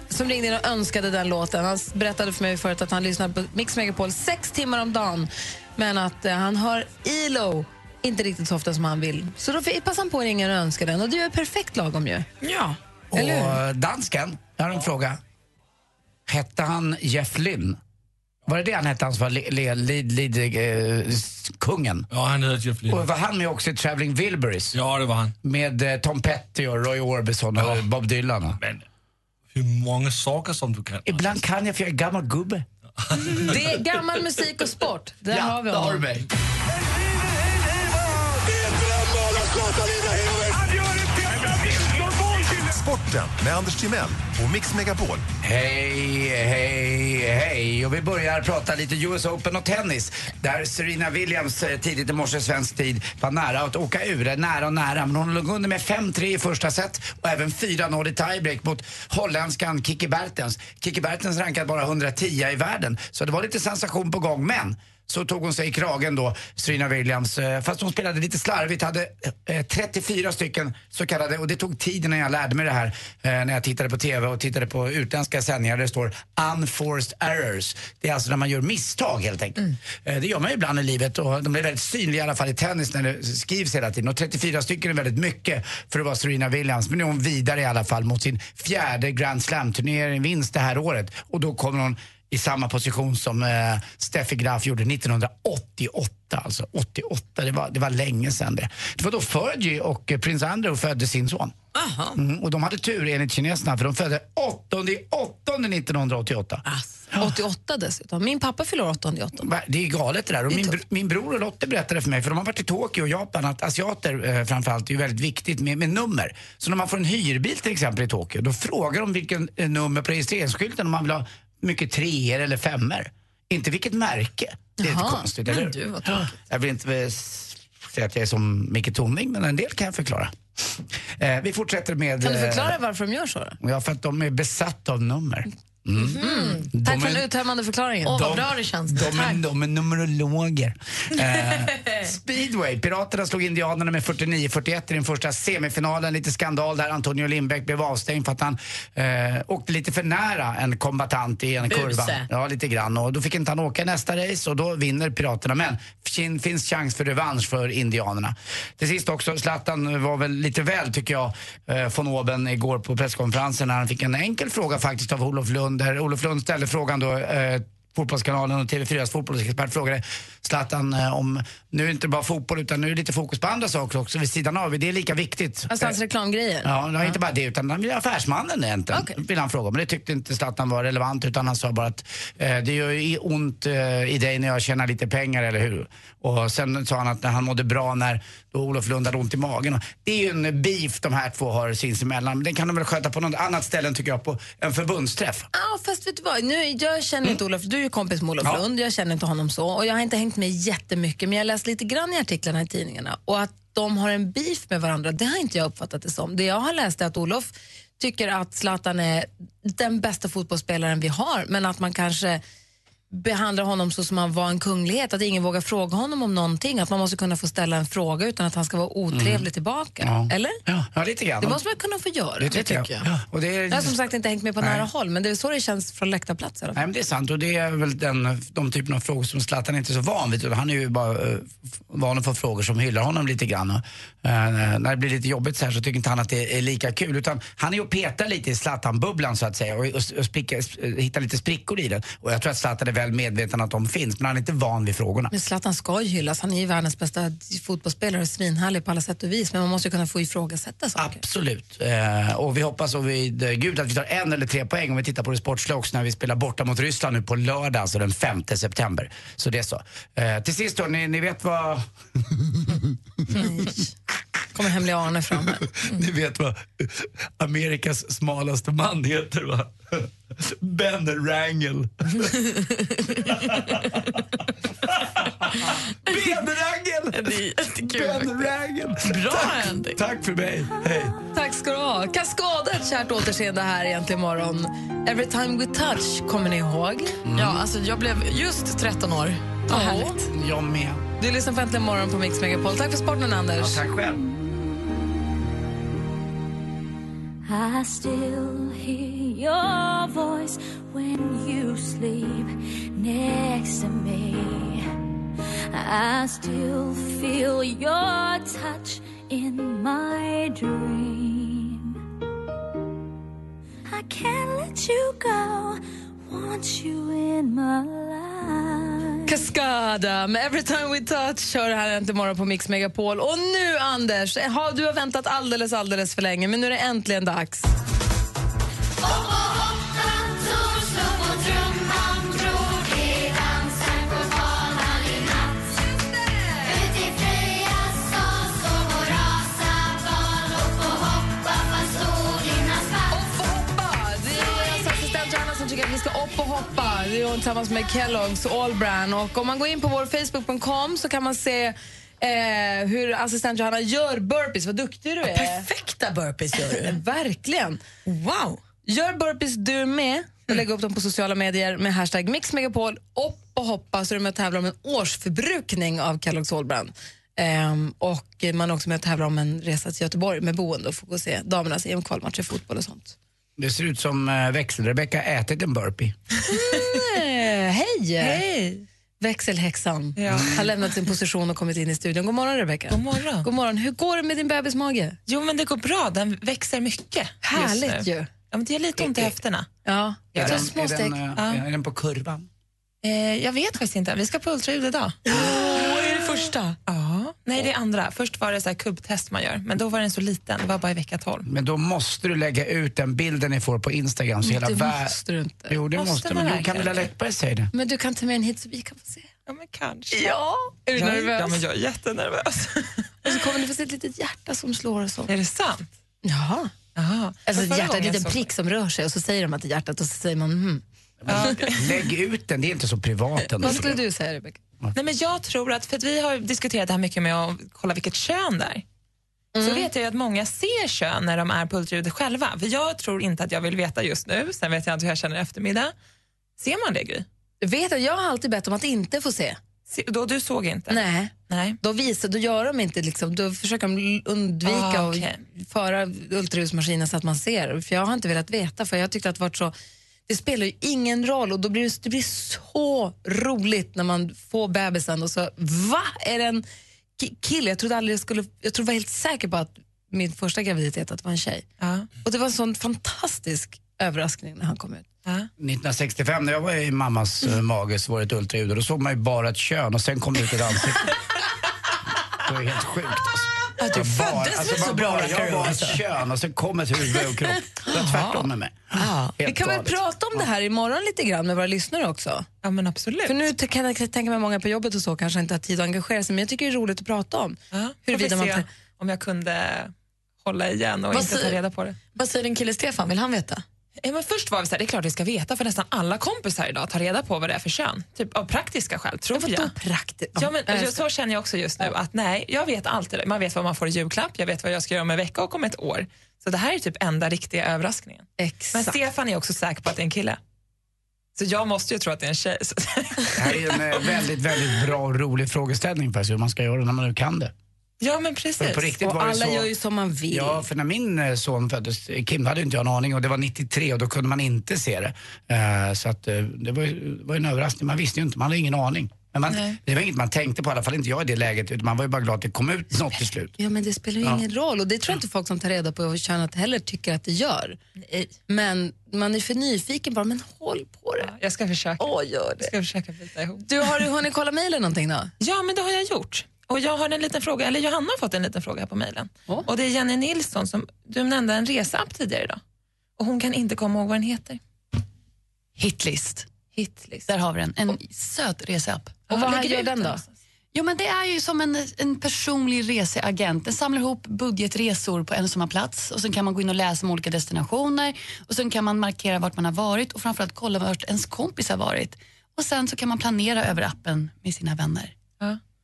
som ringde in och önskade den låten. Han s- berättade för mig förut att han lyssnar på Mix Megapol sex timmar om dagen men att eh, han hör ILO inte riktigt så ofta som han vill. Så då fick- passade han på att ringa och önska den. Och du är perfekt lagom ju.
Ja. Och dansken, jag har en fråga. Hette han Jeff Lynn? Var det det han hette, han som var le, le, lid, lid, eh, s- kungen?
Ja, han hedder Jeff Lynne.
Och var han med också i Traveling Wilburys?
Ja, det var han.
Med eh, Tom Petty och Roy Orbison och Bob Dylan? och-
Hur många saker som du kan.
Ibland kan jag för jag är gammal gubbe.
Det är gammal musik och sport. Där
Ja,
har vi
där har
honom.
du mig.
Sporten med Anders Timell och Mix Megapol.
Hej, hej, hej. Och vi börjar prata lite US Open och tennis. Där Serena Williams eh, tidigt i morse svensk tid var nära att åka ur. Eh, Nära och nära, men hon låg under med 5-3 i första set och även 4-0 i tiebreak mot holländskan Kiki Bertens. Kiki Bertens rankad bara 110 i världen, så det var lite sensation på gång. Men så tog hon sig i kragen då, Serena Williams. Eh, Fast hon spelade lite slarvigt, hade eh, 34 stycken så kallade, och det tog tid innan jag lärde mig det här, eh, när jag tittade på TV och tittade på utländska sändningar där det står unforced errors. Det är alltså när man gör misstag helt enkelt. Eh, Det gör man ju ibland i livet och de blir väldigt synliga i alla fall i tennis när det skrivs hela tiden. Och 34 stycken är väldigt mycket för att vara Serena Williams. Men nu är hon vidare i alla fall mot sin fjärde Grand Slam-turnering vinst det här året. Och då kommer hon i samma position som eh, Steffi Graf gjorde 1988. Alltså 88, det var, det var länge sedan det. Det var då Fergie och eh, prins Andrew födde sin son. Mm, och de hade tur enligt kineserna för de födde 8 i 8 1988.
88 dessutom. Min pappa fyller 88.
Va, Det är galet det där. Och min, br- min bror och Lotte berättade för mig, för de har varit i Tokyo och Japan, att asiater eh, framförallt är ju väldigt viktigt med, med nummer. Så när man får en hyrbil till exempel i Tokyo, då frågar de vilken eh, nummer på registreringsskylten om man vill ha mycket treor eller femmor. Inte vilket märke. Det är
Jaha,
lite konstigt,
men
eller hur?
du, vad tråkigt.
Jag vill inte eh, s- säga att jag är som Micke Tornving, men en del kan jag förklara. Eh, vi fortsätter med...
Kan du förklara
eh,
varför de gör så? Då?
Ja, för att de är besatta av nummer. Mm. De
Tack för
är-
den uttömmande förklaringen.
de, är- de är numerologer. Eh, speedway. Piraterna slog Indianerna med 49-41 i den första semifinalen. Lite skandal där. Antonio Lindbäck blev avstängd för att han eh, åkte lite för nära en kombatant i en
Buse.
kurva. Ja, lite grann. Och då fick inte han åka nästa race och då vinner Piraterna. Men fin- finns chans för revansch för Indianerna. Till sist också, Zlatan var väl lite väl, tycker jag, eh, von Oben igår på presskonferensen när han fick en enkel fråga faktiskt av Olof Lund. Där Olof Lund ställde frågan då, eh, Fotbollskanalen och TV4s fotbollsexpert frågade Zlatan eh, om, nu är det inte bara fotboll utan nu är det lite fokus på andra saker också vid sidan av. Det är lika viktigt.
Alltså hans
Eh,
reklamgrejer.
Ja, det var inte bara det, utan han ville affärsmannen egentligen. Vill han fråga. Men det tyckte inte Zlatan var relevant, utan han sa bara att eh, det gör ju ont eh, i dig när jag tjänar lite pengar, eller hur? Och sen sa han att när han mådde bra när då Olof Lund hade ont i magen. Och Det är ju en beef de här två har sinsemellan. Men Den kan de väl sköta på något annat ställe, än, tycker jag, på en förbundsträff.
Ja, fast vet du vad? Nu, jag känner inte Olof, du är ju kompis med Olof
Ja.
Lund, jag känner inte honom så och jag har inte hängt med jättemycket men jag har läst lite grann i artiklarna i tidningarna och att de har en beef med varandra, det har inte jag uppfattat det som. Det jag har läst är att Olof tycker att Zlatan är den bästa fotbollsspelaren vi har men att man kanske behandlar honom så som han var en kunglighet, att ingen vågar fråga honom om någonting, att man måste kunna få ställa en fråga utan att han ska vara otrevlig
Mm.
tillbaka.
Ja.
Eller?
Ja, ja, lite grann.
Det måste man kunna få göra.
Det tycker jag. Ja, och det är-
Jag har som sagt inte hängt med på
Nej.
nära håll, men det är så det känns från läktarplats. i alla fall.
Nej, men det är sant och det är väl den, de typen av frågor som Zlatan inte är så van vid. utan Han är ju bara eh, f- van att få frågor som hyllar honom lite grann. Och, eh, när det blir lite jobbigt så här så tycker inte han att det är lika kul. Utan han är ju och petar lite i Zlatan-bubblan så att säga och, och, och spricka, sp- eh, hittar lite sprickor i den. Och jag tror att Zlatan är väl medveten att de finns men han är inte van vid frågorna.
Men Zlatan ska ju hyllas, han är ju världens bästa fotbollsspelare och svinhärlig på alla sätt och vis, men man måste ju kunna få ifrågasätta saker.
Absolut. Eh, och vi hoppas och vid eh, gud att vi tar en eller tre poäng om vi tittar på det sportsliga också när vi spelar borta mot Ryssland nu på lördag, alltså den 5 september. Så det är så. Eh, till sist då, ni, ni vet vad...
Kommer hemliga Arne fram.
Ni vet vad Amerikas smalaste man heter va? Ben Wrangel. ben Wrangel! Ben Wrangel! Bra tack, tack för mig, hej.
Tack ska du ha. Kaskada, ett kärt återseende här egentligen imorgon. Every time we touch, kommer ni ihåg? Ja, alltså jag blev just 13 år. Vad härligt.
Jag med.
Du lyssnar på Äntligen morgon på Mix Megapol. Tack för sporten, Anders.
tack själv.
I still hear your voice when you sleep next to me. I still feel your touch in my dream. I can't let you go, want you in my life.
Cascada med Every time we touch kör det här äntligen morgon på Mix Megapol. Och nu, Anders, har, du har väntat alldeles, alldeles för länge, men nu är det äntligen dags. assistent Johanna som tycker att vi ska upp och hoppa. Det är hon tillsammans med Kellogg's och Allbrand. Och om man går in på vår Facebook.com så kan man se eh, hur assistent Johanna gör burpees. Vad duktig du är. perfekta burpees gör du. Verkligen. Wow. Gör burpees du med och lägg upp dem på sociala medier med hashtag mixmegapol. Upp och hoppa så är du med och tävlar om en årsförbrukning av Kellogg's Allbrand. Ehm, och man är också med och tävlar om en resa till Göteborg med boende och får gå och se damernas EM-kvalmatch i fotboll och sånt.
Det ser ut som eh, växelrebecka ätit en burpee.
Eh, Hej! Hej! Växelhäxan har lämnat sin position och kommit in i studion. God morgon, Rebecca. God morgon. God morgon. Hur går det med din bebis mage?
Jo, men det går bra. Den växer mycket.
Härligt ju.
Ja, men det är lite ont i höfterna.
Ja,
Ja,
är,
det är
den,
små
är, den,
steg. Ja.
eh, är den på kurvan?
Eh, jag vet faktiskt inte. Vi ska på ultraljud idag. är det första? Ja. Nej, det är andra. Först var det så här kubbtest man gör, men då var den så liten. Det var bara i vecka 12.
Men då måste du lägga ut den bilden ni får på Instagram. Så
Det
hela vär-
måste du inte.
Jo, det
Måste
måste,
man
man. Jo,
verkligen?
Camilla Läckberg säger det.
Men du kan ta med en hit så vi kan få se.
Ja, men kanske.
Ja. Är du
jag,
nervös?
Ja, men jag är jättenervös.
Och så kommer du få se ett litet hjärta som slår och så.
Är det sant?
Jaha.
Jaha.
Alltså
Men
ett
förra
hjärta, en
gången
liten
så-
prick som rör sig och så säger de att det är hjärtat och så säger man hmm.
Lägg ut den, det är inte så privat ändå.
Vad skulle du säga, Rebecca?
Nej, men jag tror att, för att vi har diskuterat det här mycket med att kolla vilket kön det är. Så vet jag ju att många ser kön när de är på ultraljudet själva. För jag tror inte att jag vill veta just nu, sen vet jag inte hur jag känner i eftermiddag. Ser man det, Gry?
Vet du, jag har alltid bett om att inte få se.
Se- Då du såg inte?
Nej.
Nej.
Då, visar, då gör de inte liksom, då försöker de l- undvika
Ah,
att
okej.
föra ultraljudsmaskinen så att man ser. För jag har inte velat veta för jag tyckte att det varit så det spelar ju ingen roll och då blir det, det blir så roligt när man får bebisen och så va, är det en ki- kille? Jag trodde aldrig jag skulle, jag trodde var helt säker på att min första graviditet att det var en tjej. Och det var en sån fantastisk överraskning när han kom ut.
1965 när jag var i mammas eh, mage så var det ett ultraljud och då såg man ju bara ett kön och sen kom det ut ett ansikte. Det var helt sjukt. Alltså.
Att du
Jag bara-
föddes väl
man
så bra,
bara, Jag
Carro,
var
alltså?
ett kön och sen kom ett huvud och kropp. Det var tvärtom med mig.
Vi kan väl prata om det här imorgon lite grann med våra lyssnare också?
Ja, men absolut.
För nu t- kan jag tänka mig många på jobbet och så kanske inte har tid att engagera sig, men jag tycker det är roligt att prata om.
Ja.
Huruvida
Huruvida
man-
man... Om jag kunde hålla igen och
Vad
inte ta
säger-
reda på det.
Vad säger din kille Stefan? Vill han veta?
Ja, men först var vi så här, det är klart vi ska veta för nästan alla kompisar idag tar reda på vad det är för kön. Typ av praktiska skäl, tror jag.
Praktiskt.
Ja, men, jag- så känner jag också just nu. Att nej, jag vet alltid. Man vet vad man får i julklapp, jag vet vad jag ska göra om en vecka och om ett år. Så det här är typ enda riktiga överraskningen.
Exakt.
Men Stefan är också säker på att det är en kille. Så jag måste ju tro att det är en tjej. Så-
Det här är ju en eh, väldigt, väldigt bra och rolig frågeställning faktiskt, hur man ska göra när man nu kan det.
Ja, men
För
precis.
på riktigt var det så,
som man vill.
Ja, för när min eh, son föddes, eh, Kim, hade inte jag en aning och det var 93 och då kunde man inte se det. Eh, så att, eh, det var, ju- det var ju en överraskning, man visste ju inte, man hade ingen aning. Men man,
Nej.
det var inget man tänkte på, i alla fall inte jag i det läget, utan man var ju bara glad att det kom ut något till slut.
Ja, men det spelar ju
Ja.
ingen roll. Och det tror jag inte folk som tar reda på över könet heller tycker att det gör. Men man är för nyfiken bara, men håll på det.
jag ska försöka.
Åh, gör det.
Jag ska försöka bita ihop.
Du, har du hunnit kolla mejlen någonting då?
Ja, men det har jag gjort. Och jag har en liten fråga, eller Johanna har fått en liten fråga på mejlen. Och det är Jenny Nilsson som, du nämnde en reseapp tidigare idag. Och hon kan inte komma ihåg vad den heter.
Hitlist. Hitlist. Där har vi den. En söt reseapp.
Och vad
Lägger
gör
ut
den då?
Jo, men det är ju som en, en personlig reseagent. Den samlar ihop budgetresor på en och samma plats och sen kan man gå in och läsa om olika destinationer och sen kan man markera vart man har varit och framförallt kolla vart ens kompis har varit. Och sen så kan man planera över appen med sina vänner.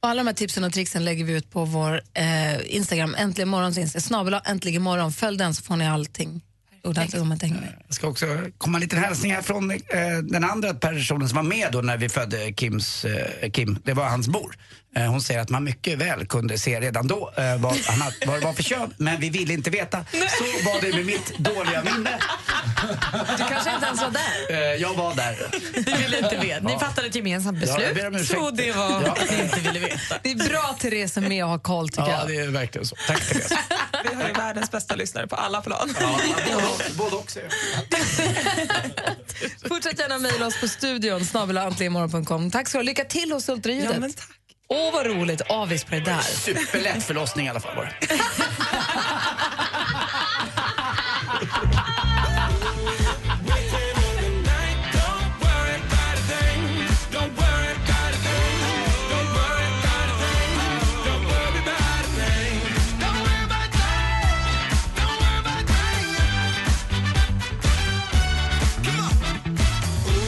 Och alla de här tipsen och trixen lägger vi ut på vår eh, Instagram, äntligen morgons Instagram, snabel-a äntligen morgon. Följ den så får ni allting ordentligt om man tänker med.
Jag ska också komma en liten hälsning här från eh, den andra personen som var med då när vi födde Kims, eh, Kim. Det var hans mor. Eh, hon säger att man mycket väl kunde se redan då eh, vad, han, hade- vad det var för kön, men vi ville inte veta. Så var det med mitt dåliga minne.
Du kanske inte ens var där.
Eh, jag var där.
Du ville inte veta. Ni
Ja.
fattade ett gemensamt
Ja, jag
beslut.
ber om ursäkt.
så det var
Ja.
att ni inte ville veta.
Det är bra att Therese är med och har koll tycker
Ja,
jag.
det är verkligen så. Tack Therese.
Vi har ju världens bästa lyssnare på alla plan.
både och säger
Fortsätt gärna mejla oss på studion, snabel-a äntligenmorgon.com. Tack så Lycka till hos ultraljudet.
Ja, men
tack.
Åh, vad roligt. Avis på det där.
Superlätt förlossning i alla fall var det.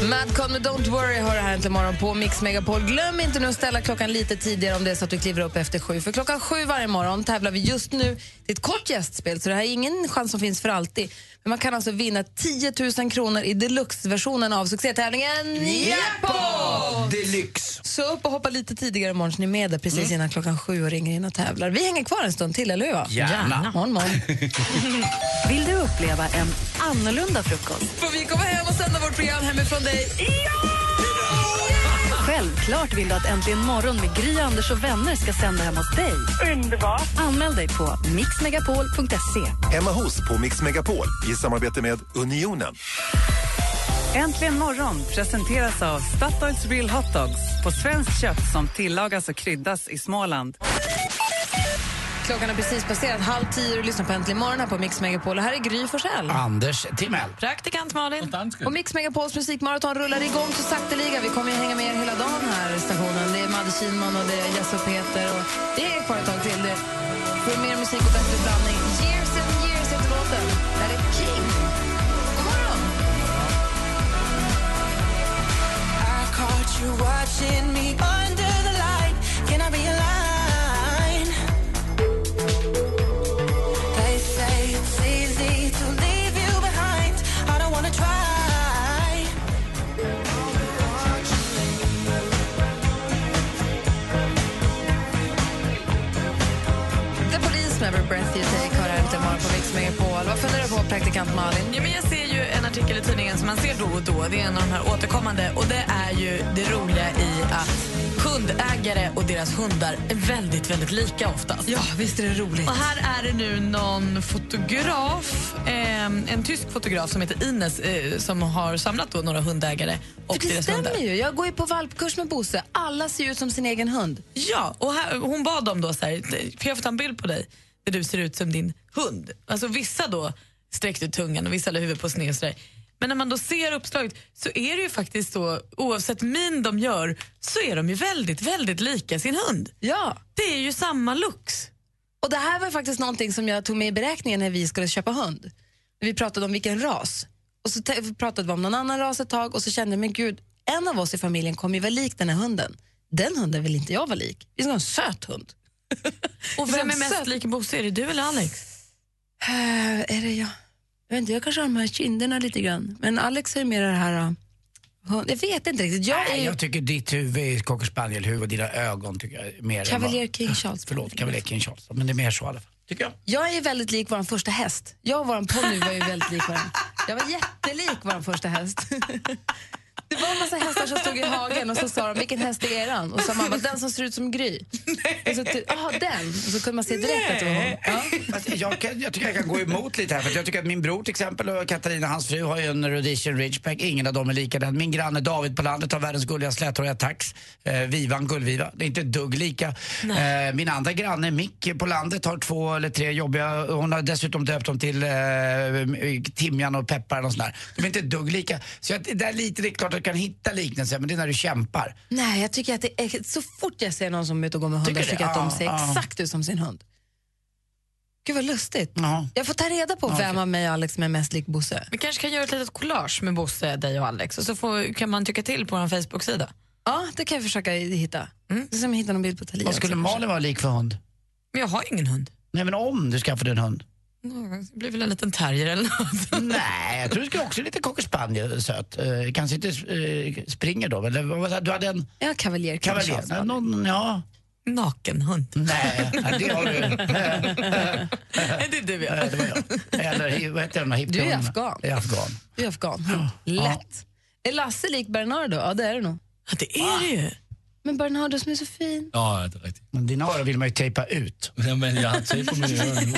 Madcon med Don't Worry har det här inte morgon på Mix Megapol. Glöm inte nu att ställa klockan lite tidigare om det är så att du kliver upp efter sju. För klockan sju varje morgon tävlar vi just nu. Det är ett kort gästspel, så det här är ingen chans som finns för alltid. Men man kan alltså vinna 10 000 kronor i deluxe-versionen av succétävlingen Jackpot!
Deluxe!
Så upp och hoppa lite tidigare imorgon så ni är med där precis innan klockan sju och ringer in och tävlar. Vi hänger kvar en stund till, eller hur? va?
Gärna.
Morgon, morgon.
Vill du uppleva en annorlunda frukost?
Får vi komma hem och sända vårt program hemifrån dig?
Självklart vill du att Äntligen morgon med Gry, Anders och vänner ska sända hem hos dig. Underbart! Anmäl dig på mixmegapol.se.
Hemma hos på Mix Megapol i samarbete med Unionen.
Äntligen morgon presenteras av Statoils Real Hot Dogs på svenskt kött som tillagas och kryddas i Småland.
Klockan har precis passerat halv tio och lyssnar på Äntligen morgon här på Mix Megapol. Och här är Gry Forssell.
Anders Timell.
Praktikant Malin. Och Mix Megapols musikmaraton rullar igång så sakteliga. Vi kommer ju hänga med er hela dagen här i stationen. Det är Madde Kihlman och det är Jesse och Peter och det är kvar ett tag till. Det får mer musik och bättre blandning. Years and years heter låten. Där är King. God morgon!
I caught you watching me under the light. Can I be a line? They say it's easy to leave you behind. I don't wanna try.
The Police med Every Breath You Take har här äntligen morgon på Mix Megapol. Vad funderar du på, praktikant Malin?
Ja, men jag ser ju en artikel i tidningen som man ser då och då. Det är en av de här återkommande. Och det är ju det roliga i att hundägare och deras hundar är väldigt, väldigt lika oftast.
Ja, visst är det roligt.
Och här är det nu någon fotograf, eh, en tysk fotograf som heter Ines, eh, som har samlat då några hundägare och
För det
deras hundar.
stämmer ju. Jag går ju på valpkurs med Bosse. Alla ser ju ut som sin egen hund.
Ja, och här, hon bad dem då så här, för jag får ta en bild på dig där du ser ut som din hund. Alltså vissa då sträckte ut tungan och vissa la huvudet på sned och så där. Men när man då ser uppslaget så är det ju faktiskt så, oavsett min de gör, så är de ju väldigt, väldigt lika sin hund.
Ja.
Det är ju samma looks.
Och det här var faktiskt någonting som jag tog med i beräkningen när vi skulle köpa hund. När vi pratade om vilken ras. Och så te- pratade vi om någon annan ras ett tag och så kände jag, men gud, en av oss i familjen kommer ju vara lik den här hunden. Den hunden vill inte jag vara lik. Vi ska ha en söt hund.
Och vem är mest lik Bosse? Är det du eller Alex?
Eh, är det jag? Jag, vet inte, jag kanske har de här kinderna lite grann. Men Alex har ju mer det här uh, Hund- Jag vet inte riktigt. Jag är
Nej,
ju
jag tycker ditt huvud är cocker spaniel-huvud och dina ögon tycker jag är mer än vad-
Cavalier King Charles.
Förlåt, Cavalier King Charles. Men det är mer så i alla fall. Tycker jag.
Jag är väldigt lik vår första häst. Jag och vår ponny var ju väldigt lik varandra. Jag var jättelik vår första häst. Det var en massa hästar som stod i hagen och så sa de vilken häst är eran? Och sa mamma den som ser ut som Gry. Och så ty- "Jaha, den. Och så kunde man se direkt att det var hon.
Fast Alltså, jag, kan, jag tycker jag kan gå emot lite här för att jag tycker att min bror till exempel och Katarina hans fru har ju en rhodesian ridgeback. Ingen av dem är likadan. Min granne David på landet har världens gulliga släthåriga tax. Eh, Vivan gullviva. Det är inte ett dugg lika. Eh, min andra granne Mick på landet har två eller tre jobbiga. Hon har dessutom döpt dem till eh, timjan och peppar och sånt där. De är inte ett dugg lika. Så jag, det där är lite, det är klart att du kan hitta liknelser men det är när du kämpar.
Nej, jag tycker att det är, så fort jag ser någon som är ute och går med hundar
Tycker du?
tycker jag att
Ja,
de ser
ja.
exakt ut som sin hund. Gud vad lustigt. Jag får ta reda på
Ja,
vem av mig och Alex som är mest lik Bosse.
Vi kanske kan göra ett litet collage med Bosse, dig och Alex och så får, kan man tycka till på vår Facebook-sida.
Ja, det kan jag försöka hitta. Mm. Sen hitta någon bild på Thalia.
Vad skulle Malin vara lik för hund?
Men jag har ingen hund.
Nej men om du skaffade en hund?
Det blir väl en liten terrier eller något.
Nej, jag tror du ska också lite cocker spaniel söt. Eh, kanske inte eh, springer då, men det var- du hade en
Ja, kavaljer.
kavaljer. Nej, Någon, ja.
Nakenhund.
Nej, nej, det har du. Eh,
det är du ja.
det var jag. Eller vad heter den här
Du är
hippihundarna?
afghan.
Jag är afghan.
Du är afghan. Lätt. Är Lasse lik Bernardo? Ja, det är det nog.
Ja, det är det ju.
Men Bernardo som är så fin.
Ja, det är riktigt.
Men dina öron vill man ju tejpa ut.
Ja, men jag har tejp på mina öron. nu.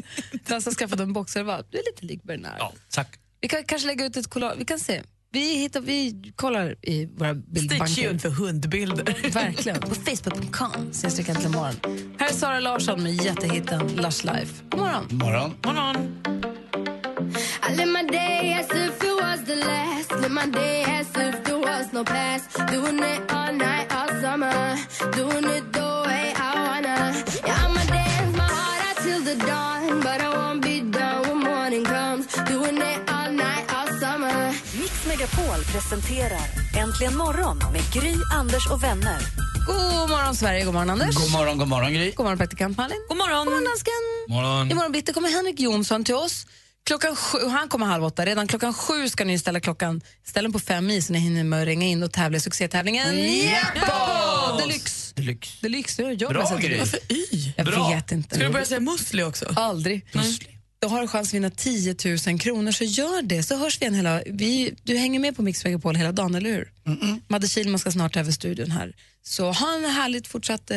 Lasse har skaffat en boxervalp. Du är lite lik Bernardo.
Tack.
Vi kan kanske lägga ut ett collage. Vi kan se. Vi, hittar, vi kollar i våra bildbanker.
tuned för hundbilder.
Verkligen. På facebook.com ses vi kanske imorgon. Här är Sara Larsson med jättehitten Lush Life. God morgon.
Morgon.
morgon.
I live my day as if it was the last. Live my day as if there was no past. Doing it all night, all summer. Doing it the way I wanna. Yeah, I'ma dance my heart out till the dawn. But I won't be done when morning comes. Doing it all night, all summer.
Mix Megapol presenterar Äntligen morgon med Gry, Anders och vänner.
God morgon, Sverige. God morgon, Anders.
God morgon, god morgon Gry.
God morgon, praktikant Malin.
God morgon.
God morgon, dansken.
Morgon.
Imorgon bitti kommer Henrik Jonsson till oss. Klockan sju, och han kommer halv åtta. Redan klockan sju ska ni ställa klockan. Ställ den på fem i så ni hinner med att ringa in och tävla i succétävlingen Jackpot! Deluxe.
Deluxe.
Deluxe. Jag jobbar
Bra
sen till det.
grej. Varför y?
Jag
Bra.
vet inte.
Ska du börja säga musli också?
Aldrig.
Mm.
Du har en chans att vinna 10 000 kronor, så gör det. Så hörs vi igen hela... Vi, du hänger med på Mix Megapol hela dagen, eller hur? Madde Kihlman ska snart ta över studion här. Så ha en härligt fortsatt, eh,